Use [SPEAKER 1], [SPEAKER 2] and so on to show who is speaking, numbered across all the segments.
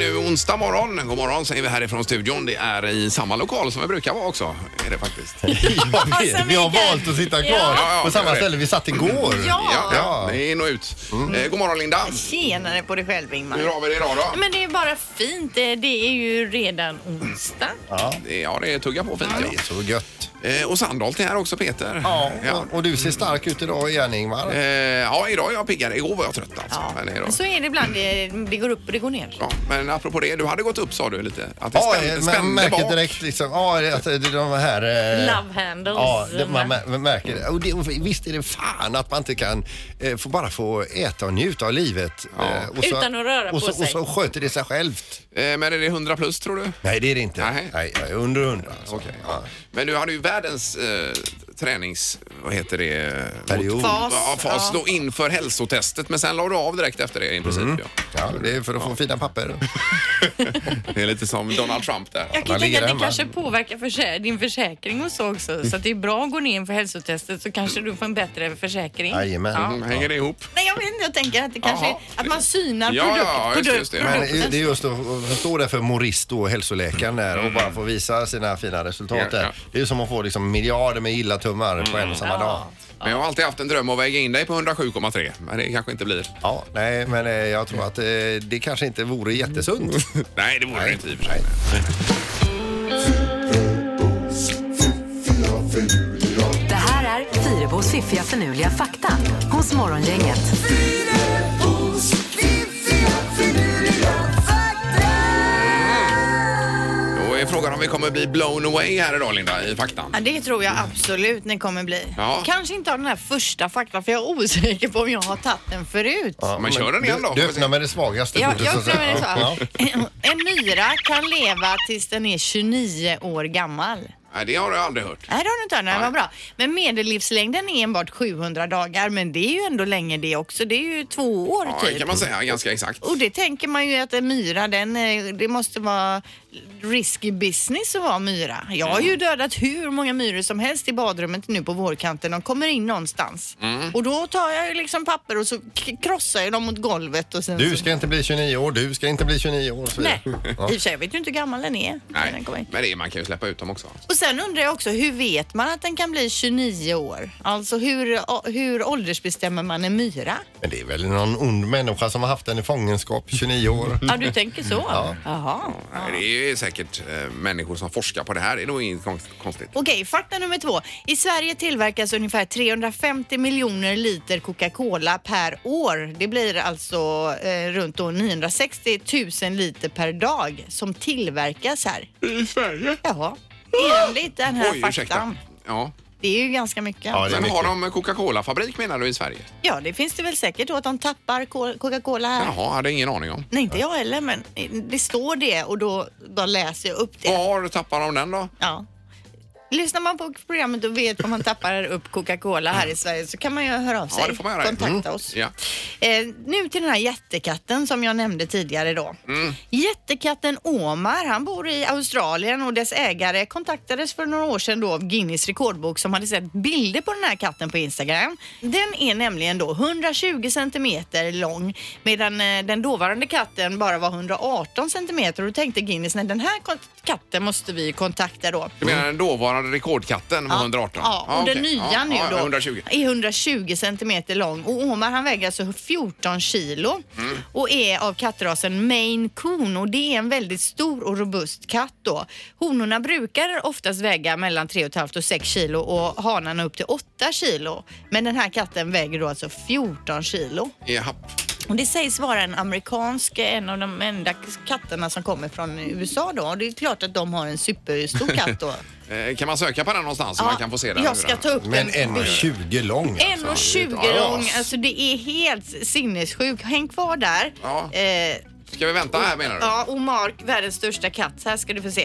[SPEAKER 1] Eh, onsdag morgon. God morgon säger vi härifrån studion. Det är i samma lokal som vi brukar vara också. Är det faktiskt.
[SPEAKER 2] Ja,
[SPEAKER 3] alltså,
[SPEAKER 2] vi, vi har
[SPEAKER 3] Mikael.
[SPEAKER 2] valt att sitta kvar
[SPEAKER 3] Ja.
[SPEAKER 1] Ja, ja,
[SPEAKER 2] på samma
[SPEAKER 1] det.
[SPEAKER 2] ställe vi satt igår.
[SPEAKER 3] Ja.
[SPEAKER 1] Ja, ja.
[SPEAKER 2] Ja. Mm.
[SPEAKER 1] det är in och ut. Eh, god morgon Linda.
[SPEAKER 3] Tjenare på dig själv Ingmar.
[SPEAKER 1] Hur har vi det idag då?
[SPEAKER 3] Men det är bara fint. Det det är ju redan onsdag.
[SPEAKER 1] Det- Ja, det är tugga på fint.
[SPEAKER 2] Det är så gött.
[SPEAKER 1] Ja. Eh, och Sandholt är här också Peter. ja.
[SPEAKER 2] Och, och du ser stark ut idag igen Ingmar.
[SPEAKER 1] Eh, ja, idag är jag piggare. Igår var jag trött alltså.
[SPEAKER 3] Ja.
[SPEAKER 1] Men, idag.
[SPEAKER 3] Men så är det ibland. Det, det går upp och det går ner.
[SPEAKER 1] Ja, men apropå det, du hade gått upp sa du lite. Att det
[SPEAKER 2] Ja,
[SPEAKER 1] spände,
[SPEAKER 2] man
[SPEAKER 1] spände
[SPEAKER 2] märker
[SPEAKER 1] bak.
[SPEAKER 2] direkt liksom, ja, att det är de här... eh,
[SPEAKER 3] Love handles.
[SPEAKER 2] Ja, det, man, mär- man märker det. Och det. Och visst är det fan att man inte kan eh, få, bara få äta och njuta av livet. eh, och
[SPEAKER 3] Utan att röra
[SPEAKER 2] och så,
[SPEAKER 3] på sig.
[SPEAKER 2] Och så sköter det sig självt.
[SPEAKER 1] Eh, men är det 100 plus tror du?
[SPEAKER 2] Nej, det är det inte.
[SPEAKER 1] Nej.
[SPEAKER 2] Nej, jag är under hundra. Alltså.
[SPEAKER 1] Okej. ja. Men du hade ju världens eh, tränings... Vad heter det?
[SPEAKER 2] Period.
[SPEAKER 3] Fas.
[SPEAKER 1] Ja, fas
[SPEAKER 3] Ja.
[SPEAKER 1] då inför hälsotestet. Men sen la du av direkt efter det i princip. Ja.
[SPEAKER 2] Ja, det är för att få fina papper.
[SPEAKER 1] Det är lite som Donald Trump där.
[SPEAKER 3] Jag kan
[SPEAKER 2] Man
[SPEAKER 3] tänka
[SPEAKER 2] ligger
[SPEAKER 3] att det
[SPEAKER 2] hemma.
[SPEAKER 3] kanske påverkar försä din försäkring och så också. Så att det är bra att gå ner inför hälsotestet så kanske du får en bättre försäkring.
[SPEAKER 2] Jajamän.
[SPEAKER 3] Ja.
[SPEAKER 1] Mm, Hänger det ihop?
[SPEAKER 3] Nej, jag vet inte. Jag tänker att det kanske
[SPEAKER 1] Jaha.
[SPEAKER 3] att man synar
[SPEAKER 1] Ja,
[SPEAKER 3] produkt,
[SPEAKER 1] ja, just det,
[SPEAKER 3] produkt,
[SPEAKER 1] just det.
[SPEAKER 2] Men
[SPEAKER 3] produkten.
[SPEAKER 2] det är just att att stå där för Morist och hälsoläkaren där och bara få visa sina fina resultat
[SPEAKER 1] Mm. Ja, ja.
[SPEAKER 2] där. Det är ju som att få liksom miljarder med gilla tummar på en och
[SPEAKER 3] Mm.
[SPEAKER 2] samma dag.
[SPEAKER 1] Men jag har alltid haft en dröm att väga in dig på 107,3. Men det kanske inte blir.
[SPEAKER 2] Ja, nej, men eh, jag tror att eh, det kanske inte vore jättesunt.
[SPEAKER 1] Nej, det vore det inte i och för sig.
[SPEAKER 4] Det här är Fyrabos fiffiga förnuliga fakta hos Morgongänget.
[SPEAKER 1] Då är frågan om vi kommer bli blown away här idag Linda, i faktan.
[SPEAKER 3] Ja, det tror jag absolut ni kommer bli.
[SPEAKER 1] Ja.
[SPEAKER 3] Kanske inte av den här första faktan för jag är osäker på om jag har tagit den förut.
[SPEAKER 2] Ja,
[SPEAKER 1] Men kör den igen då, får
[SPEAKER 2] Du,
[SPEAKER 1] vi
[SPEAKER 2] du
[SPEAKER 1] se.
[SPEAKER 2] öppnar med det svagaste
[SPEAKER 3] Jag,
[SPEAKER 2] kortet,
[SPEAKER 3] jag
[SPEAKER 2] så att säga.
[SPEAKER 3] upplever det så.
[SPEAKER 2] Ja.
[SPEAKER 3] här. En myra kan leva tills den är 29 år gammal.
[SPEAKER 1] Nej, det har jag aldrig hört.
[SPEAKER 3] Nej, det har du inte hört. Nej,
[SPEAKER 1] Nej.
[SPEAKER 3] vad bra. Men medellivslängden är enbart 700 dagar, men det är ju ändå länge det också. Det är ju två år
[SPEAKER 1] Ja, det
[SPEAKER 3] typ.
[SPEAKER 1] kan man säga ganska exakt.
[SPEAKER 3] Och det tänker man ju att en myra, den, eh, det måste vara risky business att vara myra. Jag har
[SPEAKER 1] Mm.
[SPEAKER 3] ju dödat hur många myror som helst i badrummet nu på vårkanten. De kommer in någonstans.
[SPEAKER 1] Mm.
[SPEAKER 3] Och då tar jag ju liksom papper och så k- krossar jag dem mot golvet och sen
[SPEAKER 2] Du
[SPEAKER 3] så...
[SPEAKER 2] ska inte bli 29 år, du ska inte bli 29 år. Så
[SPEAKER 3] Nej,
[SPEAKER 2] vidare.
[SPEAKER 3] i och för sig, jag vet ju inte hur gammal den är. när
[SPEAKER 1] Typ. Nej,
[SPEAKER 3] Den kommer in.
[SPEAKER 1] men det, är- man kan ju släppa ut dem också.
[SPEAKER 3] och sen undrar jag också, hur vet man att den kan bli 29 år? Alltså hur, å- hur åldersbestämmer man en myra?
[SPEAKER 2] Men det är väl någon ond människa som har haft den i fångenskap i 29 år.
[SPEAKER 3] Ja, du tänker så?
[SPEAKER 1] Mm.
[SPEAKER 3] Ja. Jaha.
[SPEAKER 1] Nej, Det är ju säkert eh, människor som forskar på det här. Det är nog inget konst- konstigt.
[SPEAKER 3] Okej, fakta nummer två. I Sverige tillverkas ungefär 350 miljoner liter Coca-Cola per år. Det blir alltså eh, runt då 960 000 liter per dag som tillverkas här.
[SPEAKER 1] I Sverige?
[SPEAKER 3] Jaha. Enligt den här
[SPEAKER 1] Oj, ursäkta.
[SPEAKER 3] faktan.
[SPEAKER 1] Ja.
[SPEAKER 3] Det är ju ganska mycket.
[SPEAKER 2] Ja, det är
[SPEAKER 1] Men
[SPEAKER 2] mycket.
[SPEAKER 1] har de Coca-Cola-fabrik menar du i Sverige?
[SPEAKER 3] Ja, det finns det väl säkert då att de tappar ko- Coca-Cola här.
[SPEAKER 1] Jaha, hade ingen aning om.
[SPEAKER 3] Nej, inte jag heller, men det står det och då, då läser jag upp det.
[SPEAKER 1] Var tappar de den då?
[SPEAKER 3] Ja. Lyssnar man på programmet och vet vad man tappar upp Coca-Cola här i Sverige så kan man ju höra av sig.
[SPEAKER 1] Ja, det får man göra.
[SPEAKER 3] Kontakta
[SPEAKER 1] Mm.
[SPEAKER 3] oss.
[SPEAKER 1] Ja.
[SPEAKER 3] Eh, nu till den här jättekatten som jag nämnde tidigare då.
[SPEAKER 1] Mm.
[SPEAKER 3] Jättekatten Omar, han bor i Australien och dess ägare kontaktades för några år sedan då av Guinness rekordbok som hade sett bilder på den här katten på Instagram. Den är nämligen då 120 centimeter lång medan eh, den dåvarande katten bara var 118 centimeter och då tänkte Guinness, nej den här kont- katten måste vi kontakta då.
[SPEAKER 1] Du menar den dåvarande rekordkatten var 118?
[SPEAKER 3] Ja, och
[SPEAKER 1] okej.
[SPEAKER 3] den nya
[SPEAKER 1] Ja,
[SPEAKER 3] nu
[SPEAKER 1] ja,
[SPEAKER 3] då
[SPEAKER 1] 120.
[SPEAKER 3] är 120 centimeter lång och Omar han väger alltså 14 kilo
[SPEAKER 1] Mm.
[SPEAKER 3] och är av kattrasen Maine Coon och det är en väldigt stor och robust katt då. Honorna brukar oftast väga mellan 3,5 och 6 kilo och hanarna upp till 8 kilo. Men den här katten väger då alltså 14 kilo.
[SPEAKER 1] Jaha.
[SPEAKER 3] Och det sägs vara en amerikansk, en av de enda katterna som kommer från USA då. Och det är klart att de har en superstor katt då.
[SPEAKER 1] Eh, Kan man söka på den någonstans så man kan få se den?
[SPEAKER 3] Jag ska ta upp
[SPEAKER 2] Men
[SPEAKER 3] den.
[SPEAKER 2] en och 20
[SPEAKER 1] Alltså,
[SPEAKER 2] lång.
[SPEAKER 3] Mm.
[SPEAKER 2] alltså.
[SPEAKER 3] En och 20
[SPEAKER 2] Ja,
[SPEAKER 3] lång, alltså det är helt sinnessjukt. Häng kvar där.
[SPEAKER 1] Ja.
[SPEAKER 3] Eh,
[SPEAKER 1] Ska vi vänta här menar du?
[SPEAKER 3] ja, och Mark, världens största katt. Så här ska du få se.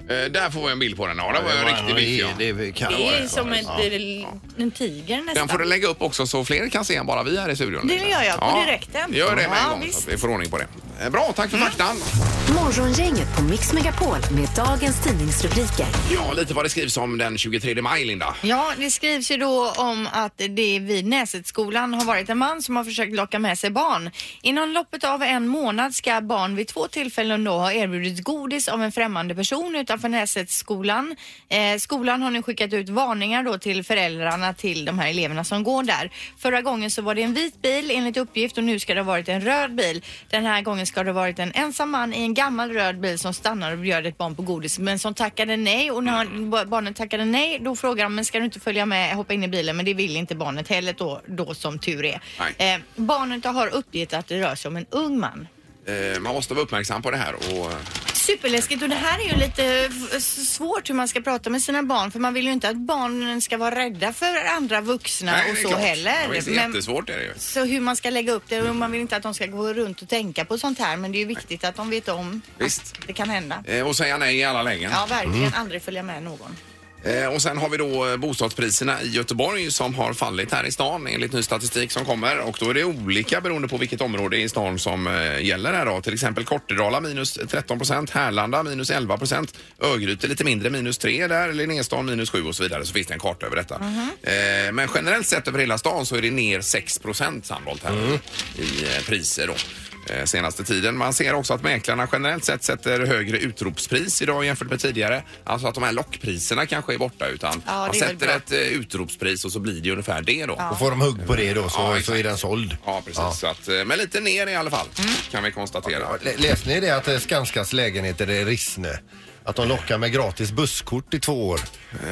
[SPEAKER 1] Eh, Där får vi en bild på den. Ja, det var ju en riktig bild. Ja.
[SPEAKER 2] Det, det kan
[SPEAKER 3] Det
[SPEAKER 2] vara
[SPEAKER 3] är
[SPEAKER 2] det.
[SPEAKER 3] som en,
[SPEAKER 2] Ja.
[SPEAKER 3] en tiger nästan.
[SPEAKER 1] Den får du lägga upp också så fler kan se än bara vi här i studion.
[SPEAKER 3] Det gör jag på direkten.
[SPEAKER 1] Gör det med en
[SPEAKER 3] Ja,
[SPEAKER 1] gång så
[SPEAKER 3] visst. Mm.
[SPEAKER 1] att vi får ordning på det. Eh, Bra, tack för faktan.
[SPEAKER 4] Morgongänget på Mix Megapol med dagens tidningsrubriker.
[SPEAKER 1] Ja, lite vad det skrivs om den 23 maj, Linda.
[SPEAKER 3] Ja, det skrivs ju då om att det vid Näsetskolan har varit en man som har försökt locka med sig barn. Inom loppet av en månad ska barn vid två tillfällen då ha erbjudits godis av en främmande person utanför Näsetskolan. Eh, skolan har nu skickat ut varningar då till föräldrarna till de här eleverna som går där. Förra gången så var det en vit bil enligt uppgift och nu ska det ha varit en röd bil. Den här gången ska det ha varit en ensam man i en gammal röd bil som stannar och bjöd ett barn på godis men som tackade nej och när han, ba- barnet tackade nej då frågade han men ska du inte följa med hoppa in i bilen men det vill inte barnet heller då, då som tur är.
[SPEAKER 1] Nej.
[SPEAKER 3] Eh, barnet har uppgett att det rör sig om en ung man.
[SPEAKER 1] Eh, Man måste vara uppmärksam på det här. Och, eh,
[SPEAKER 3] Superläskigt och det här är ju lite eh, s- svårt hur man ska prata med sina barn för man vill ju inte att barnen ska vara rädda för andra vuxna
[SPEAKER 1] nej,
[SPEAKER 3] och
[SPEAKER 1] det är
[SPEAKER 3] så
[SPEAKER 1] klart.
[SPEAKER 3] heller.
[SPEAKER 1] Ja, visst, det är
[SPEAKER 3] Men-
[SPEAKER 1] jättesvårt är det ju.
[SPEAKER 3] så hur man ska lägga upp det och man vill inte att de ska gå runt och tänka på sånt här men det är ju viktigt att de vet om
[SPEAKER 1] Visst.
[SPEAKER 3] att det kan hända.
[SPEAKER 1] Eh, Och säga nej i alla lägen.
[SPEAKER 3] Ja, verkligen aldrig följa med någon.
[SPEAKER 1] Eh, Och sen har vi då eh, bostadspriserna i Göteborg som har fallit här i stan enligt ny statistik som kommer. Och då är det olika beroende på vilket område i stan som eh, gäller här då. Till exempel Kortedala minus 13 procent, Härlanda minus 11 procent, Örgryte lite mindre minus 3 där, Linnéstan minus 7 och så vidare. Så finns det en karta över detta.
[SPEAKER 3] Mhm.
[SPEAKER 1] Eh, Men generellt sett över hela stan så är det ner 6 procent sammanlagt här
[SPEAKER 3] Mm.
[SPEAKER 1] i eh, priser då eh, senaste tiden. Man ser också att mäklarna generellt sett sätter högre utropspris idag jämfört med tidigare. Alltså att de här lockpriserna kanske är borta utan
[SPEAKER 3] Ja, det
[SPEAKER 1] man
[SPEAKER 3] är väl
[SPEAKER 1] sätter
[SPEAKER 3] bra.
[SPEAKER 1] ett eh, utropspris och så blir det ungefär det då. Ja.
[SPEAKER 2] Och får de hugg på det då så,
[SPEAKER 1] Ja, exakt.
[SPEAKER 2] så är den såld.
[SPEAKER 1] precis. Så att, eh, men lite ner i alla fall
[SPEAKER 3] Mm.
[SPEAKER 1] kan vi konstatera.
[SPEAKER 2] Ja, lä- Läste ni det att eh, Skanskas lägenheter är Rissne? Att de lockar med gratis busskort i två år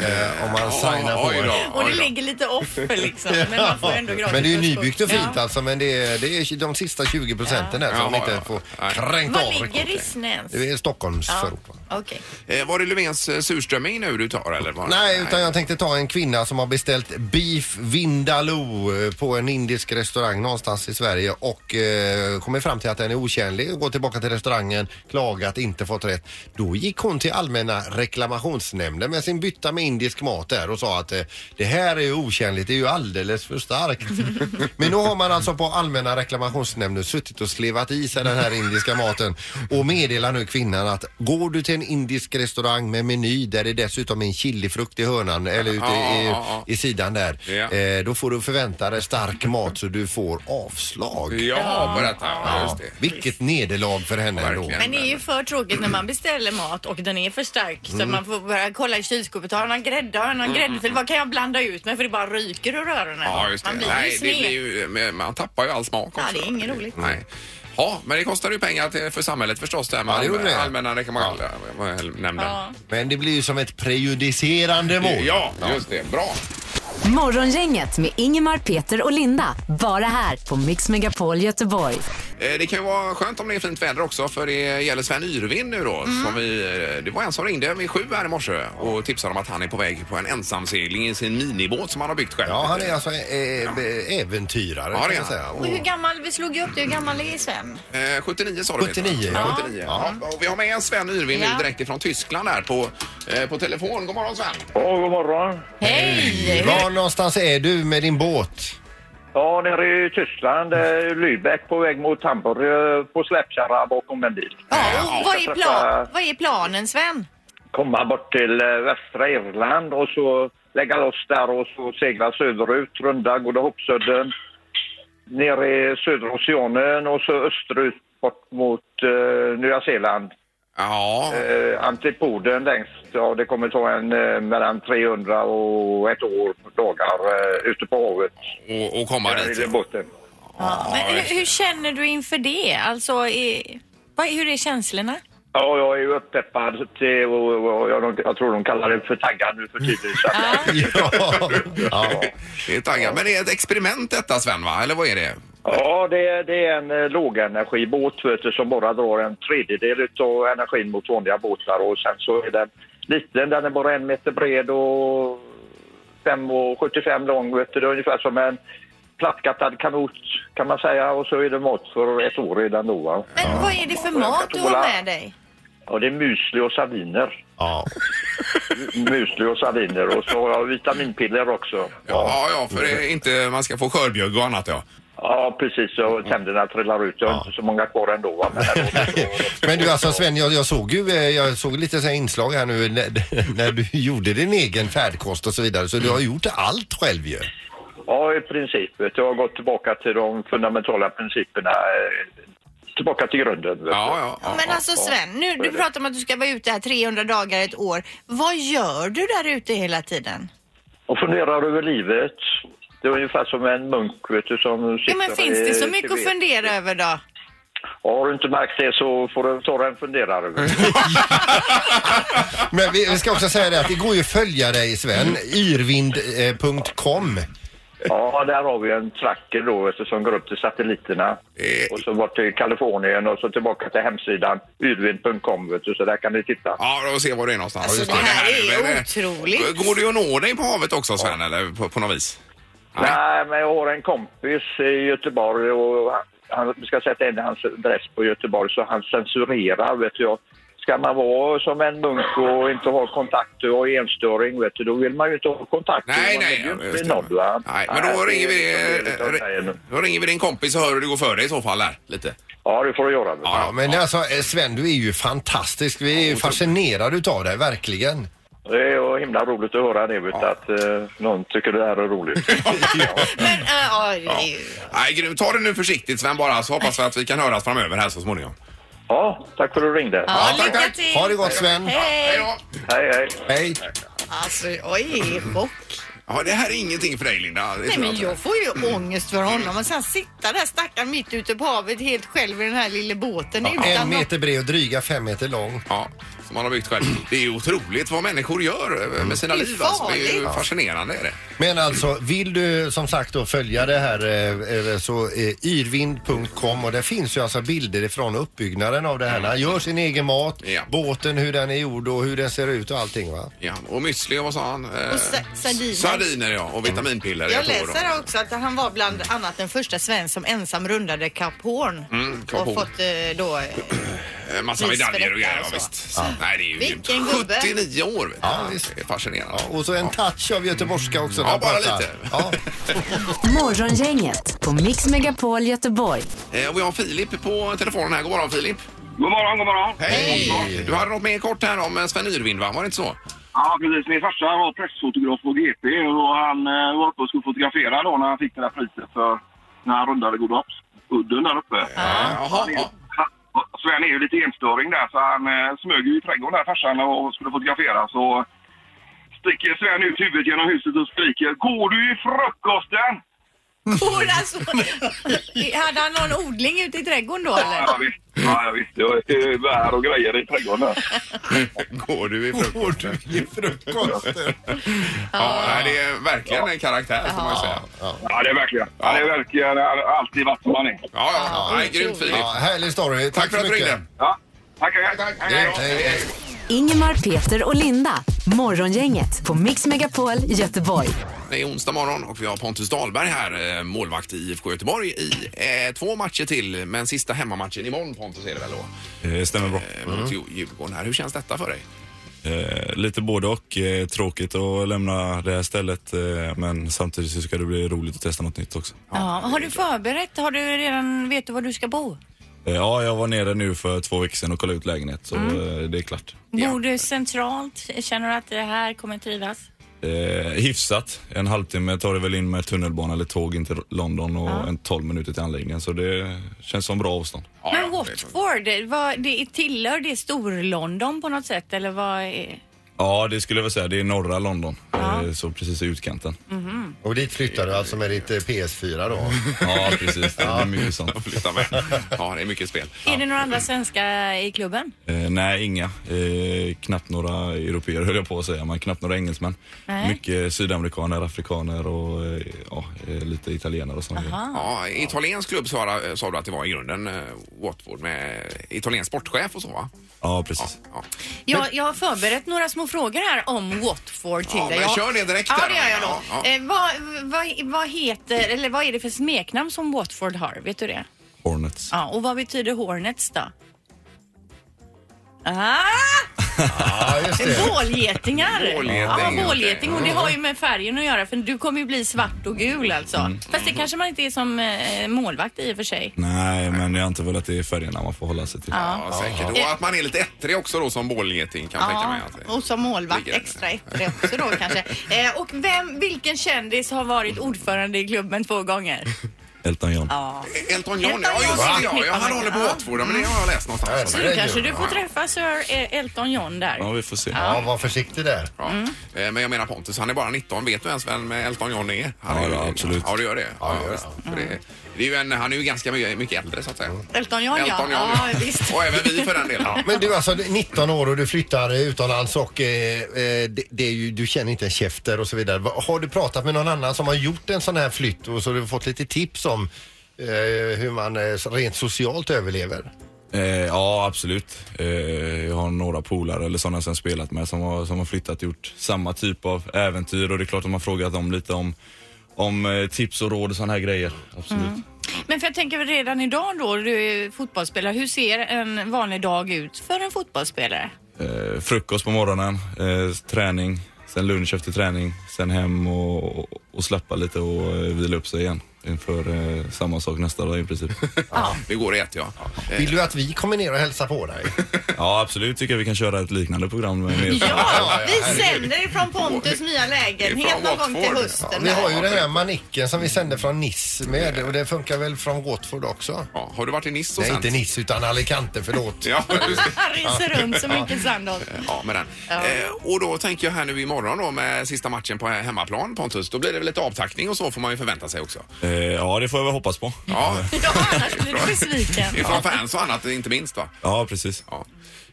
[SPEAKER 2] eh, om man signar på.
[SPEAKER 1] oj
[SPEAKER 2] det.
[SPEAKER 1] då,
[SPEAKER 3] Och det
[SPEAKER 1] oj då.
[SPEAKER 3] ligger lite off liksom men man får ändå gratis
[SPEAKER 2] Men det är ju
[SPEAKER 3] busskort.
[SPEAKER 2] nybyggt och fint
[SPEAKER 3] Ja.
[SPEAKER 2] alltså men det är, det är de sista 20 procenten där som
[SPEAKER 1] Jaha,
[SPEAKER 2] de inte
[SPEAKER 1] ja.
[SPEAKER 2] får
[SPEAKER 1] Nej.
[SPEAKER 2] kränkt
[SPEAKER 3] Var
[SPEAKER 2] av.
[SPEAKER 3] ligger Rissne ens?
[SPEAKER 2] Det är Stockholms
[SPEAKER 3] Ja,
[SPEAKER 2] förort. va?
[SPEAKER 3] Okej.
[SPEAKER 1] Eh, Var det Löfvens eh, surströmming nu du tar eller? Var...
[SPEAKER 2] Nej, utan jag tänkte ta en kvinna som har beställt beef vindaloo eh, på en indisk restaurang någonstans i Sverige och eh, kommit fram till att den är otjänlig. Går tillbaka till restaurangen, klagat, inte fått rätt. Då gick hon till Allmänna reklamationsnämnden med sin bytta med indisk mat där och sa att eh, det här är ju otjänligt, det är ju alldeles för starkt. Men nu har man alltså på Allmänna reklamationsnämnden suttit och slevat i sig den här indiska maten och meddelar nu kvinnan att går du till en indisk restaurang med meny där det dessutom är en chilifrukt i hörnan eller ute i,
[SPEAKER 1] Ja.
[SPEAKER 2] i sidan där,
[SPEAKER 1] Ja.
[SPEAKER 2] eh, då får du förvänta dig stark mat så du får avslag.
[SPEAKER 1] Ja, på detta. Ja, just
[SPEAKER 2] Ja,
[SPEAKER 1] det.
[SPEAKER 2] vilket nederlag för henne
[SPEAKER 1] Ja,
[SPEAKER 2] ändå.
[SPEAKER 1] verkligen.
[SPEAKER 3] Men det är ju för tråkigt när man beställer mat och den är för stark så man får börja kolla i kylskåpet. Har jag någon grädde? Har jag någon gräddfil? Vad kan jag blanda ut med? För det bara ryker ur öronen.
[SPEAKER 1] Ja, just det.
[SPEAKER 3] Man blir
[SPEAKER 1] Nej,
[SPEAKER 3] ju
[SPEAKER 1] det blir
[SPEAKER 3] sned.
[SPEAKER 1] ju, men man tappar ju all smak också. Mm.
[SPEAKER 3] Ja, det är inget roligt.
[SPEAKER 1] Nej. Ja, men det kostar ju pengar till, för samhället förstås det här med
[SPEAKER 2] Ja, det gjorde
[SPEAKER 1] allmä-
[SPEAKER 2] det.
[SPEAKER 1] allmänna rekommendationsnämnden.
[SPEAKER 3] Ja.
[SPEAKER 2] Men det blir ju som ett prejudicerande mål.
[SPEAKER 1] Ja, just det. Bra.
[SPEAKER 4] Morgongänget med Ingemar, Peter och Linda. Bara här på Mix Megapol Göteborg.
[SPEAKER 1] Eh, Det kan ju vara skönt om det är fint väder också för det gäller Sven Yrvin nu då.
[SPEAKER 3] Mm.
[SPEAKER 1] Som vi, eh, det var en som ringde vid sju här i morse och tipsade om att han är på väg på en ensamsegling i sin minibåt som han har byggt själv.
[SPEAKER 2] Ja, han är alltså eh, eh, äventyrare
[SPEAKER 1] Ja, det är
[SPEAKER 2] kan man
[SPEAKER 1] han.
[SPEAKER 2] säga.
[SPEAKER 3] Och hur gammal, vi slog ju upp det, hur gammal är Sven?
[SPEAKER 1] Eh, 79 sa du.
[SPEAKER 2] 79,
[SPEAKER 1] ja.
[SPEAKER 2] ja.
[SPEAKER 1] 79. Ja. Och vi har med Sven Yrvin
[SPEAKER 3] Ja.
[SPEAKER 1] nu direkt ifrån Tyskland här på, eh, på telefon. God morgon Sven!
[SPEAKER 5] Ja, god morgon.
[SPEAKER 3] Hej!
[SPEAKER 2] Var någonstans är du med din båt?
[SPEAKER 5] Ja, nere i Tyskland, eh, Lübeck på väg mot Hamburg eh, på släpkärra bakom en bil.
[SPEAKER 3] Ja, och vad, är
[SPEAKER 5] Jag
[SPEAKER 3] plan,
[SPEAKER 5] träffade-
[SPEAKER 3] vad är planen Sven?
[SPEAKER 5] Komma bort till eh, västra Irland och så lägga loss där och så segla söderut, runda Goda Hoppsudden, ner i södra oceanen och så österut bort mot eh, Nya Zeeland.
[SPEAKER 1] Ja,
[SPEAKER 5] Eh, antipoden längst, ja det kommer ta en eh, mellan 300 och ett år dagar eh, ute på havet.
[SPEAKER 1] och, och komma
[SPEAKER 5] Där i
[SPEAKER 1] dit.
[SPEAKER 5] den botten.
[SPEAKER 3] Ja, men eh, hur, hur känner du inför det? Alltså, är, vad, hur är känslorna?
[SPEAKER 5] Ja, jag är ju uppeppad till, och, och, och, jag, jag tror de kallar det för taggad nu för tiden. Så att,
[SPEAKER 2] Ja. ja.
[SPEAKER 1] Det är taggad. Men det är ett experiment detta Sven va? Eller vad är det?
[SPEAKER 5] ja, det, är- det är en eh, lågenergibåt vet du, som bara drar en tredjedel av energin mot vanliga båtar och sen så är den liten, den är bara en meter bred och 5,75 lång vet du, det är ungefär som en plattkattad kanot kan man säga och så är det mat för ett år i den då. Va?
[SPEAKER 3] Men vad är det för mat du har med dig?
[SPEAKER 5] Ja, det är müsli och sardiner.
[SPEAKER 2] ja.
[SPEAKER 5] Müsli och sardiner och så har jag vitaminpiller också.
[SPEAKER 1] Ja, ja, för det är inte, man ska få skörbjugg och annat ja.
[SPEAKER 5] Ja, precis.
[SPEAKER 1] Mm.
[SPEAKER 5] Och tänderna trillar ut. Jag har
[SPEAKER 2] Ja.
[SPEAKER 5] inte så många kvar ändå. Va? Men
[SPEAKER 2] Men du alltså Sven, jag, jag såg ju eh, jag såg lite så här inslag här nu när, när du gjorde din egen färdkost och så vidare. Så du har gjort allt själv ju.
[SPEAKER 5] Ja, i princip. vet du. Jag har gått tillbaka till de fundamentala principerna. eh, Tillbaka till grunden.
[SPEAKER 1] Ja,
[SPEAKER 5] vet du.
[SPEAKER 1] ja,
[SPEAKER 3] Ja,
[SPEAKER 1] ja,
[SPEAKER 3] men
[SPEAKER 1] ja.
[SPEAKER 3] alltså Sven, nu, du pratar om att du ska vara ute här 300 dagar ett år. Vad gör du där ute hela tiden?
[SPEAKER 5] Och funderar över livet. Det är ungefär som en munk vet du, som sitter
[SPEAKER 3] Ja, men finns det så mycket att fundera över då?
[SPEAKER 5] över? Har du inte märkt det så får du ta en funderare. över det.
[SPEAKER 2] Men vi, vi ska också säga det att det går ju att följa dig Sven, eh, yrvind.com.
[SPEAKER 5] Ja, där har vi en tracker då vet du, som går upp till satelliterna.
[SPEAKER 1] Eh.
[SPEAKER 5] Och så bort till Kalifornien och så tillbaka till hemsidan yrvind.com. vet du, Så där kan ni titta.
[SPEAKER 1] Ja, och se var du är någonstans.
[SPEAKER 3] Alltså,
[SPEAKER 1] Just
[SPEAKER 3] det här är
[SPEAKER 1] Men, eh,
[SPEAKER 3] otroligt.
[SPEAKER 1] Går det att nå dig på havet också Sven, eller på, på något vis?
[SPEAKER 5] Nej, men jag har en kompis i Göteborg och han- han vi ska sätta in hans adress på Göteborg så han censurerar, vet du. jag. Ska man vara som en munk och inte ha kontakt och enstöring, vet du, då vill man ju inte ha kontakt.
[SPEAKER 1] Nej,
[SPEAKER 5] man
[SPEAKER 1] nej.
[SPEAKER 5] vill ju
[SPEAKER 1] ja,
[SPEAKER 5] inte
[SPEAKER 1] just
[SPEAKER 5] bli
[SPEAKER 1] det.
[SPEAKER 5] nådd, va?
[SPEAKER 1] Nej, men då
[SPEAKER 5] det är
[SPEAKER 1] ringer, vi,
[SPEAKER 5] lite av
[SPEAKER 1] eh,
[SPEAKER 5] grejen.
[SPEAKER 1] då ringer vi din kompis och hör hur det går för dig i så fall. Där, lite.
[SPEAKER 5] Ja, det får du göra. vet du.
[SPEAKER 2] Ja, men alltså eh, Sven, du är ju fantastisk. Vi är ju fascinerade utav dig, verkligen.
[SPEAKER 5] Det är ju himla roligt att höra det, vet du, att eh, någon tycker det här är roligt.
[SPEAKER 3] Men, äh, ja, det är ju-
[SPEAKER 1] Nej, grymt. Ta det nu försiktigt Sven bara så hoppas vi att vi kan höras framöver här så småningom.
[SPEAKER 5] ja, tack för att du ringde.
[SPEAKER 3] ja,
[SPEAKER 1] tack,
[SPEAKER 3] lycka
[SPEAKER 1] tack.
[SPEAKER 3] till!
[SPEAKER 2] Ha det gott Sven.
[SPEAKER 1] Hej
[SPEAKER 3] Hej!
[SPEAKER 1] då!
[SPEAKER 5] Hej, hej.
[SPEAKER 2] Hej.
[SPEAKER 3] Alltså, oj, chock.
[SPEAKER 1] Ja, det här är ingenting för dig Linda. Det
[SPEAKER 3] Nej,
[SPEAKER 1] tror
[SPEAKER 3] men
[SPEAKER 1] inte.
[SPEAKER 3] jag får ju ångest för honom och sen sitta där stackaren mitt ute på havet helt själv i den här lilla båten
[SPEAKER 2] En
[SPEAKER 3] utan något.
[SPEAKER 2] meter bred och dryga fem meter lång.
[SPEAKER 1] Ja, som man har byggt själv. Det är ju otroligt vad människor gör eh, med sina
[SPEAKER 3] Mm. Det är
[SPEAKER 1] liv. Alltså. Det är ju
[SPEAKER 3] farligt.
[SPEAKER 1] fascinerande. Är det.
[SPEAKER 2] Men alltså, vill du som sagt då följa det här eh, eh, så eh, yrvind.com och det finns ju alltså bilder ifrån uppbyggnaden av det här. Han gör sin egen mat,
[SPEAKER 1] Ja.
[SPEAKER 2] båten, hur den är gjord och hur den ser ut och allting va?
[SPEAKER 1] Ja, och müsli och vad sa han? Eh,
[SPEAKER 3] Och sa- sardiner.
[SPEAKER 1] Sardiner ja, och vitaminpiller.
[SPEAKER 3] Jag
[SPEAKER 1] tror
[SPEAKER 3] läser
[SPEAKER 1] då.
[SPEAKER 3] här också att han var bland annat den första svensk som ensam rundade Kap Horn.
[SPEAKER 1] Mm, Kap
[SPEAKER 3] och
[SPEAKER 1] Horn.
[SPEAKER 3] fått eh, då... eh,
[SPEAKER 1] Eh, Massa
[SPEAKER 3] Pris för
[SPEAKER 1] medaljer och
[SPEAKER 3] detta
[SPEAKER 1] grejer. Ja,
[SPEAKER 3] och så. Mm.
[SPEAKER 1] visst. Så, Nej, det är ju
[SPEAKER 3] Vilken
[SPEAKER 1] grymt.
[SPEAKER 3] gubbe.
[SPEAKER 1] 79 år. Vet du.
[SPEAKER 2] Ja, visst.
[SPEAKER 1] Det är fascinerande.
[SPEAKER 2] Och så en touch av göteborgska också. när
[SPEAKER 1] Ja,
[SPEAKER 2] han
[SPEAKER 1] bara
[SPEAKER 2] pratar.
[SPEAKER 1] lite.
[SPEAKER 2] Ja.
[SPEAKER 4] Morgongänget på Mix Megapol Göteborg.
[SPEAKER 1] Eh, och vi har Filip på telefonen här. God morgon Filip.
[SPEAKER 6] God morgon, god morgon.
[SPEAKER 1] Hej! Du hade något mer kort här om eh, Sven Yrvind va? Var det inte så?
[SPEAKER 6] Ja, precis. Min farsa var pressfotograf på GP och han eh, var uppe och skulle fotografera då när han fick det där priset för när han rundade Godhavsudden där uppe.
[SPEAKER 1] Eh, Jaha.
[SPEAKER 6] Han
[SPEAKER 1] ja.
[SPEAKER 6] är- han- Sven är ju lite enstöring där så han eh, smög ju i trädgården där farsan och skulle fotografera så sticker Sven ut huvudet genom huset och skriker Går du i frukosten?
[SPEAKER 3] Horn, alltså. Hade han någon odling ute i trädgården då eller?
[SPEAKER 6] Ja, visst. Ja, jag visste. Det var eh, bär och grejer i trädgården där.
[SPEAKER 1] Går du i frukost?
[SPEAKER 2] I frukosten.
[SPEAKER 1] Ja, nej, det är verkligen en karaktär får man ju säga. Ja,
[SPEAKER 6] Ja, det är verkligen. Han är verkligen han har alltid varit som han är.
[SPEAKER 1] ja, ja. Nej, grymt Filip.
[SPEAKER 2] Ja, härlig story. Tack,
[SPEAKER 1] Tack för
[SPEAKER 2] så
[SPEAKER 1] att du
[SPEAKER 2] mycket.
[SPEAKER 1] ringde.
[SPEAKER 6] Ja. Tackar, tackar.
[SPEAKER 2] Hej, hej, hej.
[SPEAKER 4] Ingemar, Peter och Linda. Morgongänget på Mix Megapol Göteborg.
[SPEAKER 1] Det är onsdag morgon och vi har Pontus Dahlberg här, eh, målvakt i IFK Göteborg i eh, två matcher till, men sista hemmamatchen imorgon Pontus är det väl då?
[SPEAKER 7] Eh, Stämmer bra.
[SPEAKER 1] Eh, Mot Djur- Djurgården här. Hur känns detta för dig?
[SPEAKER 7] Eh, lite både och. Eh, tråkigt att lämna det här stället eh, men samtidigt så ska det bli roligt att testa något nytt också.
[SPEAKER 3] Ja, har du förberett? Har du redan, vet du var du ska bo?
[SPEAKER 7] Eh, ja, jag var nere nu för två veckor sedan och kollade ut lägenhet så eh, det är klart.
[SPEAKER 1] Ja.
[SPEAKER 3] Bor du centralt? Känner du att det här kommer trivas?
[SPEAKER 7] Eh, hyfsat. En halvtimme tar det väl in med tunnelbana eller tåg in till London och en 12 minuter till anläggningen så det känns som bra avstånd.
[SPEAKER 1] Ja,
[SPEAKER 3] Men
[SPEAKER 1] ja,
[SPEAKER 3] Watford, eh, vad, det är- tillhör det Storlondon på något sätt eller vad är...
[SPEAKER 7] Ja, det skulle jag väl säga. Det är norra London, eh, så precis i utkanten.
[SPEAKER 2] Och dit flyttar du alltså med ditt eh, PS4 då?
[SPEAKER 7] Ja, precis. Det är mycket sånt.
[SPEAKER 1] det- Flytta med. Ja, det är mycket spel.
[SPEAKER 3] Är det några andra svenskar i klubben?
[SPEAKER 7] Eh, nej, inga. Eh, knappt några europeer höll jag på att säga, men knappt några engelsmän.
[SPEAKER 3] Nej.
[SPEAKER 7] Mycket sydamerikaner, afrikaner och eh, ja, eh, lite italienare och sånt.
[SPEAKER 1] Ja, italiensk klubb sa, sa du att det var i grunden, eh, Watford, med italiensk sportchef och så va?
[SPEAKER 7] Ja, precis.
[SPEAKER 1] Ja.
[SPEAKER 3] Jag, jag har förberett några små frågor här om Watford till
[SPEAKER 1] Ja,
[SPEAKER 3] dig.
[SPEAKER 1] men
[SPEAKER 3] Jag-
[SPEAKER 1] kör det direkt
[SPEAKER 3] Ja,
[SPEAKER 1] där
[SPEAKER 3] det
[SPEAKER 1] då.
[SPEAKER 3] gör jag då.
[SPEAKER 1] Ja, ja.
[SPEAKER 3] Eh, vad, vad, vad heter, eller vad är det för smeknamn som Watford har? Vet du det?
[SPEAKER 7] Hornets.
[SPEAKER 3] Ja, och vad betyder Hornets då? Ah!
[SPEAKER 2] Ja, just det.
[SPEAKER 3] Bålgetingar.
[SPEAKER 1] Bålgeting,
[SPEAKER 3] ja,
[SPEAKER 1] ja.
[SPEAKER 3] bålgeting. Och det har ju med färgen att göra för du kommer ju bli svart och gul alltså.
[SPEAKER 1] Mm.
[SPEAKER 3] Fast det kanske man inte är som eh, målvakt i och för sig.
[SPEAKER 7] Nej, men jag har inte velat det är färgerna man får hålla sig till.
[SPEAKER 1] Ja, säkert. Och att man är lite ettrig också då som bålgeting kan jag tänka mig. Att det-
[SPEAKER 3] Ah. och som målvakt
[SPEAKER 1] ligger där.
[SPEAKER 3] extra efter också då kanske. Eh, och vem, vilken kändis har varit ordförande i klubben två gånger?
[SPEAKER 7] Elton John.
[SPEAKER 3] Ja.
[SPEAKER 1] Elton John,
[SPEAKER 3] Elton
[SPEAKER 1] ja just
[SPEAKER 3] John
[SPEAKER 1] det. Ja, ja,
[SPEAKER 3] förknippar
[SPEAKER 1] han
[SPEAKER 3] man
[SPEAKER 1] håller
[SPEAKER 3] ju.
[SPEAKER 1] på
[SPEAKER 3] Ja.
[SPEAKER 1] Watford, ja, men det har jag läst någonstans.
[SPEAKER 3] Så då kanske du får träffa Sir eh, Elton John där.
[SPEAKER 7] Ja, vi får se.
[SPEAKER 2] Ja, var försiktig där.
[SPEAKER 1] Ja. Eh, Men jag menar Pontus, han är bara 19. Vet du ens vem eh, Elton John är? Han
[SPEAKER 7] Ja,
[SPEAKER 1] är ju-
[SPEAKER 7] ja, absolut.
[SPEAKER 1] Ja, du gör det.
[SPEAKER 2] Ja, det gör
[SPEAKER 1] visst. För det, det är ju en, han är ju ganska mycket, mycket äldre så att säga.
[SPEAKER 3] Elton John,
[SPEAKER 1] Elton John,
[SPEAKER 3] ja.
[SPEAKER 1] ja.
[SPEAKER 3] ja visst.
[SPEAKER 1] Och även vi för den delen.
[SPEAKER 2] Men du alltså 19 år och du flyttar eh, utomlands och eh, eh, det, det är ju, du känner inte en käft där och så vidare. Va- Har du pratat med någon annan som har gjort en sån här flytt och så har du fått lite tips om eh, hur man eh, rent socialt överlever?
[SPEAKER 7] Eh, ja, absolut. Eh, jag har några polare eller sådana som jag spelat med som har, som har flyttat och gjort samma typ av äventyr och det är klart att man har frågat dem lite om, om eh, tips och råd och sådana här grejer. Absolut.
[SPEAKER 3] Men för jag tänker väl redan idag då, du är fotbollsspelare, hur ser en vanlig dag ut för en fotbollsspelare?
[SPEAKER 7] Eh, frukost på morgonen, eh, träning, sen lunch efter träning, sen hem och, och, och släppa lite och eh, vila upp sig igen inför eh, samma sak nästa dag i princip.
[SPEAKER 1] Det går i ett ja. Eh,
[SPEAKER 2] Vill du att vi kommer ner och hälsar på dig?
[SPEAKER 7] ja, absolut tycker jag vi kan köra ett liknande program med med-
[SPEAKER 3] Ja, vi sänder ifrån Pontus nya lägenhet
[SPEAKER 1] Ifrån
[SPEAKER 3] någon gång till
[SPEAKER 1] Watford.
[SPEAKER 3] hösten.
[SPEAKER 2] Vi har ju den här manicken som vi sände från Niss med och det funkar väl från Watford också?
[SPEAKER 1] Ja, har du varit i Nice och
[SPEAKER 2] Nej,
[SPEAKER 1] sen?
[SPEAKER 2] inte Niss utan Alicante, förlåt.
[SPEAKER 1] Ja, just det.
[SPEAKER 3] Han reser runt som Micke Sandholt.
[SPEAKER 1] ja, med den. Eh, och då tänker jag här nu imorgon då med sista matchen på hemmaplan Pontus, då blir det väl lite avtackning och så får man ju förvänta sig också.
[SPEAKER 7] Eh, ja, det får jag väl hoppas på.
[SPEAKER 1] Ja,
[SPEAKER 3] Ja, annars blir du besviken.
[SPEAKER 1] ifrån fans och annat inte minst va?
[SPEAKER 7] Ja, precis.
[SPEAKER 1] Ja.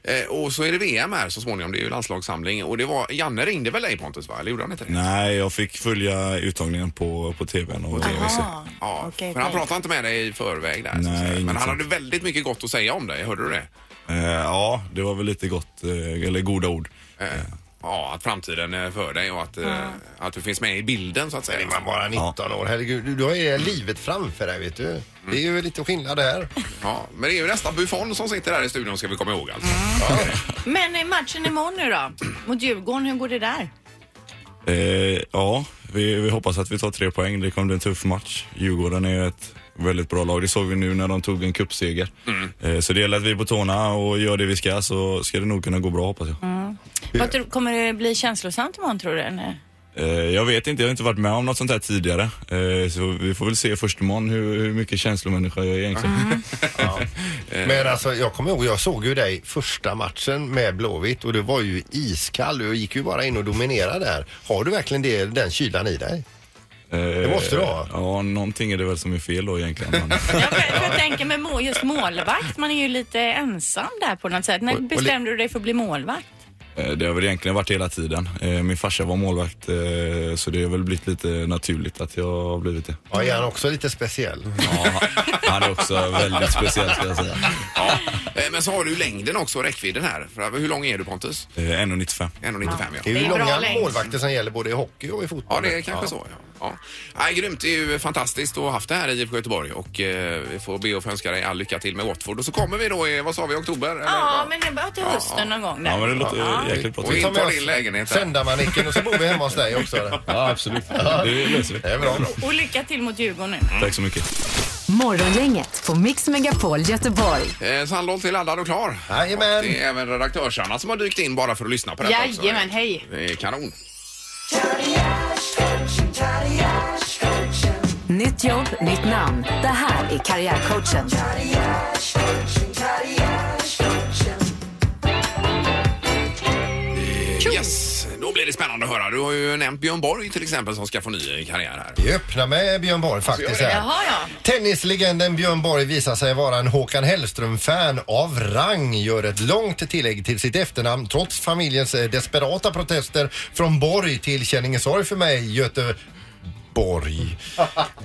[SPEAKER 1] Eh, och så är det VM här så småningom, det är ju landslagssamling och det var, Janne ringde väl dig Pontus va? Eller gjorde han inte det?
[SPEAKER 7] Nej, jag fick följa uttagningen på, på tvn och se.
[SPEAKER 3] Ja.
[SPEAKER 1] Ja,
[SPEAKER 3] Okej,
[SPEAKER 1] men han
[SPEAKER 3] okej.
[SPEAKER 1] pratade inte med dig i förväg där. så att
[SPEAKER 7] Nej,
[SPEAKER 1] säga. men
[SPEAKER 7] inget
[SPEAKER 1] han
[SPEAKER 7] sånt.
[SPEAKER 1] hade väldigt mycket gott att säga om dig, hörde du det?
[SPEAKER 7] Eh, ja, det var väl lite gott, eh, eller goda ord.
[SPEAKER 1] Eh, Ja, att framtiden är för dig och att, eh, att du finns med i bilden så att säga.
[SPEAKER 2] Man bara 19 år, herregud. Du, du har ju livet framför dig vet du. Det är ju lite skillnad där.
[SPEAKER 1] Ja, men det är ju nästan Buffon som sitter där i studion ska vi komma ihåg alltså.
[SPEAKER 3] Mm. Men eh, matchen imorgon nu då, mot Djurgården, hur går det där?
[SPEAKER 7] Eh, ja, vi, vi hoppas att vi tar tre poäng. Det kommer bli en tuff match. Djurgården är ett väldigt bra lag. Det såg vi nu när de tog en cupseger. Eh, så det gäller att vi är på tårna och gör det vi ska så ska det nog kunna gå bra hoppas jag.
[SPEAKER 3] Vad tror- Kommer det bli känslosamt imorgon tror du? Nej.
[SPEAKER 7] Eh, jag vet inte, jag har inte varit med om något sånt här tidigare. Eh, så vi får väl se först imorgon hur, hur mycket känslomänniska jag är egentligen.
[SPEAKER 2] Men alltså jag kommer ihåg, jag såg ju dig första matchen med Blåvitt och du var ju iskall. Du gick ju bara in och dominerade där. Har du verkligen det, den kylan i dig?
[SPEAKER 7] Det
[SPEAKER 2] måste du ha.
[SPEAKER 7] Eh, Ja, någonting är det väl som är fel då egentligen. Men,
[SPEAKER 3] Ja, för, för jag tänker med må, just målvakt, man är ju lite ensam där på något sätt. När
[SPEAKER 2] Och- och li-
[SPEAKER 3] bestämde du dig för att bli målvakt?
[SPEAKER 7] Eh, Det har väl egentligen varit hela tiden. Eh, Min farsa var målvakt eh, så det har väl blivit lite naturligt att jag har blivit det.
[SPEAKER 2] Ja, är han också lite speciell?
[SPEAKER 7] Ja, han- han är också väldigt speciell ska jag säga.
[SPEAKER 1] Ja. Eh, Men så har du längden också, räckvidden här. För hur lång är du Pontus?
[SPEAKER 7] Eh, 1,95.
[SPEAKER 1] 1,95 ja.
[SPEAKER 2] Det är ju
[SPEAKER 3] Det är bra
[SPEAKER 2] långa
[SPEAKER 3] längd.
[SPEAKER 2] målvakter som gäller både i hockey och i fotboll.
[SPEAKER 1] Ja, det är kanske så. Ja. Ja. Nej, grymt, det är ju fantastiskt att ha haft det här i IFK Göteborg och eh, vi får be och få önska dig all lycka till med Watford. Och så kommer vi då i, vad sa vi, oktober? Eller?
[SPEAKER 3] Ja, men det var till hösten någon gång där.
[SPEAKER 7] Ja men det låter eh,
[SPEAKER 3] Ja.
[SPEAKER 7] jäkligt bra.
[SPEAKER 1] Och
[SPEAKER 7] till.
[SPEAKER 1] in på din lägenhet. där.
[SPEAKER 2] Sändarmanicken och så bor vi hemma hos dig också.
[SPEAKER 7] Ja absolut, det löser vi.
[SPEAKER 2] Det är bra.
[SPEAKER 3] Och lycka till mot Djurgården nu.
[SPEAKER 7] Tack så mycket.
[SPEAKER 4] Morgongänget på Mix Megapol Göteborg.
[SPEAKER 1] Eh, Sandholt är laddad och klar.
[SPEAKER 2] Jajamän.
[SPEAKER 1] Och Det är även redaktörsarna som har dykt in bara för att lyssna på detta också.
[SPEAKER 3] Jajamän, hej.
[SPEAKER 1] Det är kanon.
[SPEAKER 4] Nytt jobb, nytt namn. Det här är Karriärcoachen.
[SPEAKER 1] Yes, då blir det spännande att höra. Du har ju nämnt Björn Borg till exempel som ska få ny karriär här.
[SPEAKER 2] Vi öppnar med Björn Borg faktiskt här.
[SPEAKER 3] Jaha, ja.
[SPEAKER 2] Tennislegenden Björn Borg visar sig vara en Håkan Hellström-fan av rang. Gör ett långt tillägg till sitt efternamn trots familjens eh, desperata protester från Borg till Känningesorg för mig, Göteborg.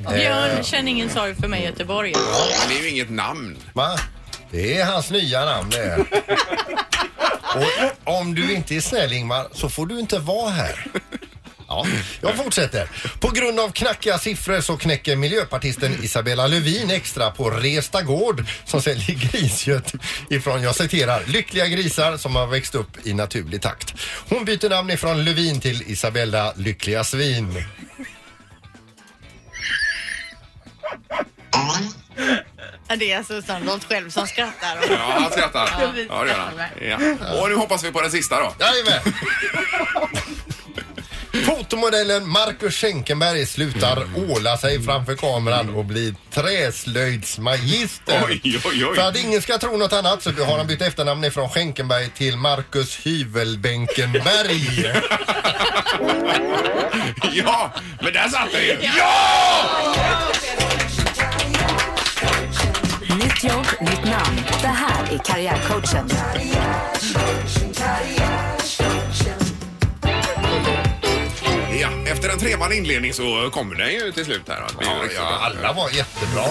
[SPEAKER 3] Björn känner ingen sorg för mig i Göteborg.
[SPEAKER 1] Men det är ju inget namn.
[SPEAKER 2] Va? Det är hans nya namn det. är. Och om du inte är snäll Ingmar så får du inte vara här. Ja, jag fortsätter. På grund av knackiga siffror så knäcker miljöpartisten Isabella Lövin extra på Resta Gård som säljer griskött ifrån, jag citerar, lyckliga grisar som har växt upp i naturlig takt. Hon byter namn ifrån Lövin till Isabella Lyckliga Svin.
[SPEAKER 3] Ja, Det är alltså Sandholt själv som skrattar.
[SPEAKER 1] Ja, han skrattar.
[SPEAKER 3] Ja, vi
[SPEAKER 1] Ja, det gör han. Ja. Och nu hoppas vi på den sista då.
[SPEAKER 2] Jajamän! Fotomodellen Marcus Schenkenberg slutar
[SPEAKER 1] Mm.
[SPEAKER 2] åla sig framför kameran och blir träslöjdsmagister.
[SPEAKER 1] Oj, oj, oj.
[SPEAKER 2] För att ingen ska tro något annat så har han bytt efternamn ifrån Schenkenberg till Marcus Hyvelbänkenberg.
[SPEAKER 1] Ja, men där satt den ju! Ja!
[SPEAKER 4] Nytt jobb, nytt namn. Det här är Karriärcoachen.
[SPEAKER 1] ja! Efter en trevande inledning så kommer den ju till slut här.
[SPEAKER 2] Ja, ja, alla var jättebra.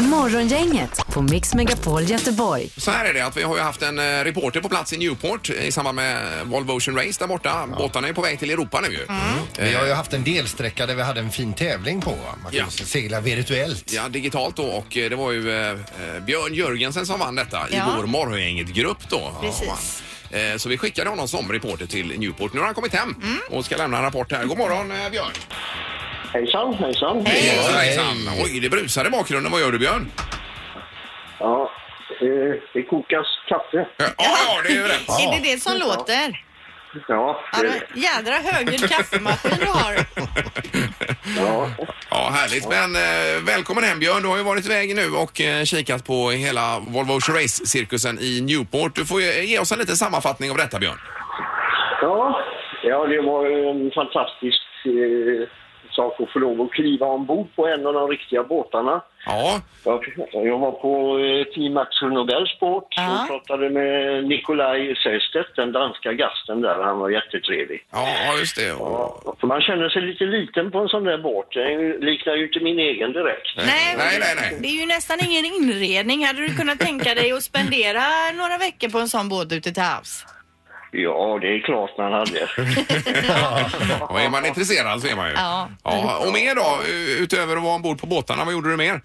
[SPEAKER 4] Morgongänget på Mix Megapol Göteborg.
[SPEAKER 1] Så här är det att vi har ju haft en eh, reporter på plats i Newport eh, i samband med Volvo Ocean Race där borta. Båtarna är på väg till Europa nu
[SPEAKER 3] Mm.
[SPEAKER 1] ju.
[SPEAKER 2] Vi har ju haft en delsträcka där vi hade en fin tävling på. Man kan
[SPEAKER 1] Ja.
[SPEAKER 2] ju segla virtuellt.
[SPEAKER 1] Ja, digitalt då och eh, det var ju eh, eh, Björn Jörgensen som vann detta i
[SPEAKER 3] Ja.
[SPEAKER 1] vår Morgongänget-grupp då.
[SPEAKER 3] Precis.
[SPEAKER 1] Ja, han. Eh, Så vi skickade honom som reporter till Newport. Nu har han kommit hem
[SPEAKER 3] Mm.
[SPEAKER 1] och ska lämna en rapport här. God morgon eh, Björn!
[SPEAKER 5] Hejsan, hejsan.
[SPEAKER 1] Hejsan, hejsan! Oj, det brusar i bakgrunden. Vad gör du Björn?
[SPEAKER 5] Ja, eh, det kokas kaffe.
[SPEAKER 1] Eh, Ja, ja, det är ju rätt!
[SPEAKER 3] Är det det som låter?
[SPEAKER 5] Ja,
[SPEAKER 3] Ja,
[SPEAKER 5] det,
[SPEAKER 3] men jädra högljudd kaffemaskin du har.
[SPEAKER 5] ja.
[SPEAKER 1] Ja, härligt. Men eh, välkommen hem Björn. Du har ju varit iväg nu och eh, kikat på hela Volvo Ocean Race-cirkusen i Newport. Du får ju eh, ge oss en liten sammanfattning av detta Björn.
[SPEAKER 5] Ja, ja, det var en fantastisk eh, sak att få lov att kliva ombord på en av de riktiga båtarna.
[SPEAKER 1] Ja,
[SPEAKER 5] Jag, jag var på eh, Team Axel Nobel Sport
[SPEAKER 3] Ja.
[SPEAKER 5] och pratade med Nikolaj Sjöstedt, den danska gasten där. Han var jättetrevlig.
[SPEAKER 1] ja just det.
[SPEAKER 5] Ja, för man känner sig lite liten på en sån där båt. Den liknar ju inte min egen direkt.
[SPEAKER 3] Nej,
[SPEAKER 1] Nej, nej, nej.
[SPEAKER 3] Det är ju nästan ingen inredning. Hade du kunnat tänka dig att spendera några veckor på en sån båt ute till havs?
[SPEAKER 5] Ja, det är klart man hade.
[SPEAKER 1] Och är man intresserad så är man ju.
[SPEAKER 3] Ja.
[SPEAKER 1] ja och mer då, u- utöver att vara ombord på båtarna, vad gjorde du mer?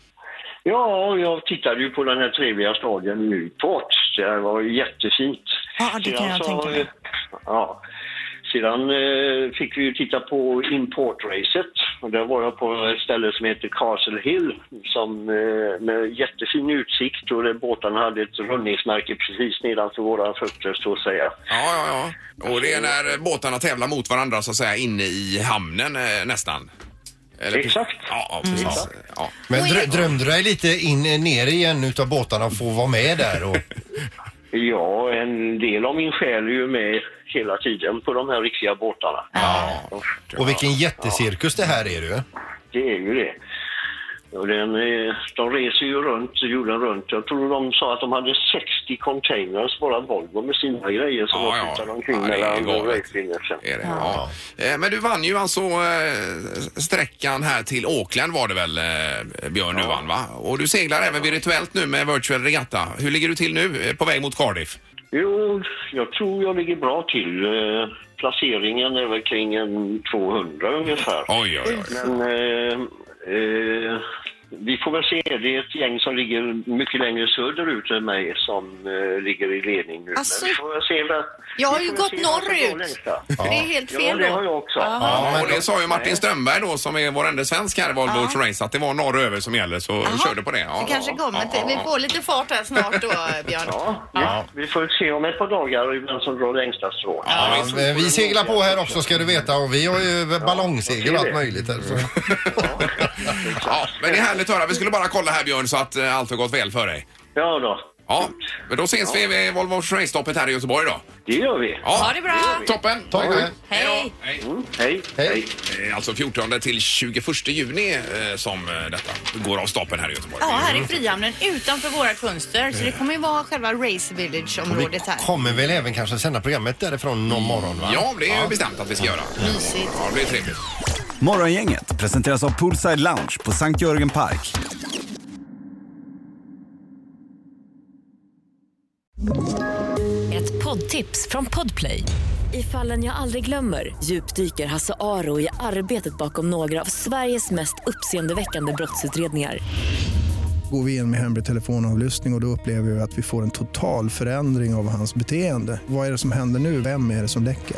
[SPEAKER 5] Ja, jag tittade ju på den här trevliga stadion Newport. Det var ju jättefint.
[SPEAKER 3] Ja, det kan
[SPEAKER 5] Sedan
[SPEAKER 3] jag
[SPEAKER 5] så-
[SPEAKER 3] tänka mig.
[SPEAKER 5] Ja. Sedan eh, fick vi ju titta på importracet. Och där var jag på ett ställe som heter Castle Hill som, eh, med jättefin utsikt och där båtarna hade ett rundningsmärke precis nedanför våra fötter så att säga.
[SPEAKER 1] Ja, ja, ja. Och det är när båtarna tävlar mot varandra så att säga inne i hamnen eh, nästan. Eller-
[SPEAKER 5] Exakt.
[SPEAKER 1] Ja, ja, precis. Ja.
[SPEAKER 2] Men drö- drömde du dig lite in, ner igen utav båtarna och få vara med där? Och...
[SPEAKER 5] Ja, en del av min själ är ju med hela tiden på de här riktiga båtarna.
[SPEAKER 2] Och vilken jättecirkus det här är du.
[SPEAKER 5] Det är ju det. Och den, eh, de reser ju runt, jorden runt. Jag tror de sa att de hade 60 containers, bara Volvo, med sina grejer som
[SPEAKER 1] Ja,
[SPEAKER 5] de
[SPEAKER 1] ja.
[SPEAKER 5] flyttade omkring
[SPEAKER 1] Ja, det är
[SPEAKER 5] mellan
[SPEAKER 1] galet.
[SPEAKER 5] racefinishen.
[SPEAKER 1] Är det? Ja. Eh, Men du vann ju alltså eh, sträckan här till Auckland var det väl eh, Björn du vann va? Och du seglar även virtuellt nu med Virtual Regatta. Hur ligger du till nu eh, på väg mot Cardiff?
[SPEAKER 5] Jo, jag tror jag ligger bra till. Eh, Placeringen är väl kring en 200 ungefär.
[SPEAKER 1] Oj, oj, oj.
[SPEAKER 5] Men eh, eh, vi får väl se. Det är ett gäng som ligger mycket längre söderut än mig som eh, ligger i ledning nu.
[SPEAKER 3] Alltså,
[SPEAKER 5] Men vi får väl se. vad-
[SPEAKER 3] jag har
[SPEAKER 5] vi
[SPEAKER 3] ju
[SPEAKER 5] får väl
[SPEAKER 3] gått
[SPEAKER 5] se vad som går
[SPEAKER 3] norrut.
[SPEAKER 5] längst där.
[SPEAKER 3] Det är helt
[SPEAKER 5] Ja,
[SPEAKER 3] fel
[SPEAKER 5] det har
[SPEAKER 3] då.
[SPEAKER 5] jag också.
[SPEAKER 1] Ja, och det sa ju Martin Strömberg då som är vår enda svensk här i Volvo Ocean Race att det var norröver som gällde så
[SPEAKER 3] Jaha.
[SPEAKER 1] körde på det. Ja,
[SPEAKER 3] Det kanske
[SPEAKER 1] ja,
[SPEAKER 3] kommer
[SPEAKER 1] ja,
[SPEAKER 3] till. Vi
[SPEAKER 1] ja.
[SPEAKER 3] får lite fart här snart då, Björn.
[SPEAKER 5] Ja, vi- Vi får se om ett par dagar vem som drar längsta strån.
[SPEAKER 2] Ja, men vi seglar på här också ska du veta och vi har ju ballongsegel och allt möjligt. Här, så.
[SPEAKER 1] Ja, men det är härligt att höra. Vi skulle bara kolla här Björn så att eh, allt har gått väl för dig.
[SPEAKER 5] Ja då,
[SPEAKER 1] Ja, men då ses vi vid Volvo Ocean Race-stoppet här i Göteborg då.
[SPEAKER 5] det gör vi.
[SPEAKER 1] Ja,
[SPEAKER 8] Ha det bra.
[SPEAKER 1] Toppen!
[SPEAKER 2] Toppen.
[SPEAKER 1] Hej
[SPEAKER 8] Hej.
[SPEAKER 1] då! Hej.
[SPEAKER 5] Mm, hej,
[SPEAKER 2] Hej.
[SPEAKER 5] hej.
[SPEAKER 1] Eh, Alltså 14 till 21 juni eh, som eh, detta går av stapeln här i Göteborg.
[SPEAKER 3] Ja, här i Frihamnen utanför våra fönster. Så det kommer ju vara själva Race Village-området
[SPEAKER 2] Vi Mm.
[SPEAKER 3] här.
[SPEAKER 2] kommer väl även kanske sända programmet därifrån någon morgon va?
[SPEAKER 1] Ja, det är ju bestämt att vi ska göra.
[SPEAKER 3] Mysigt.
[SPEAKER 1] Ja, det blir trevligt.
[SPEAKER 9] Morgongänget presenteras av Poolside Lounge på Sankt Jörgen Park.
[SPEAKER 4] Ett poddtips från Podplay.
[SPEAKER 3] I fallen jag aldrig glömmer djupdyker Hasse Aro i arbetet bakom några av Sveriges mest uppseendeväckande brottsutredningar.
[SPEAKER 6] Går vi in med hemlig telefonavlyssning och, och då upplever vi att vi får en total förändring av hans beteende. Vad är det som händer nu? Vem är det som läcker?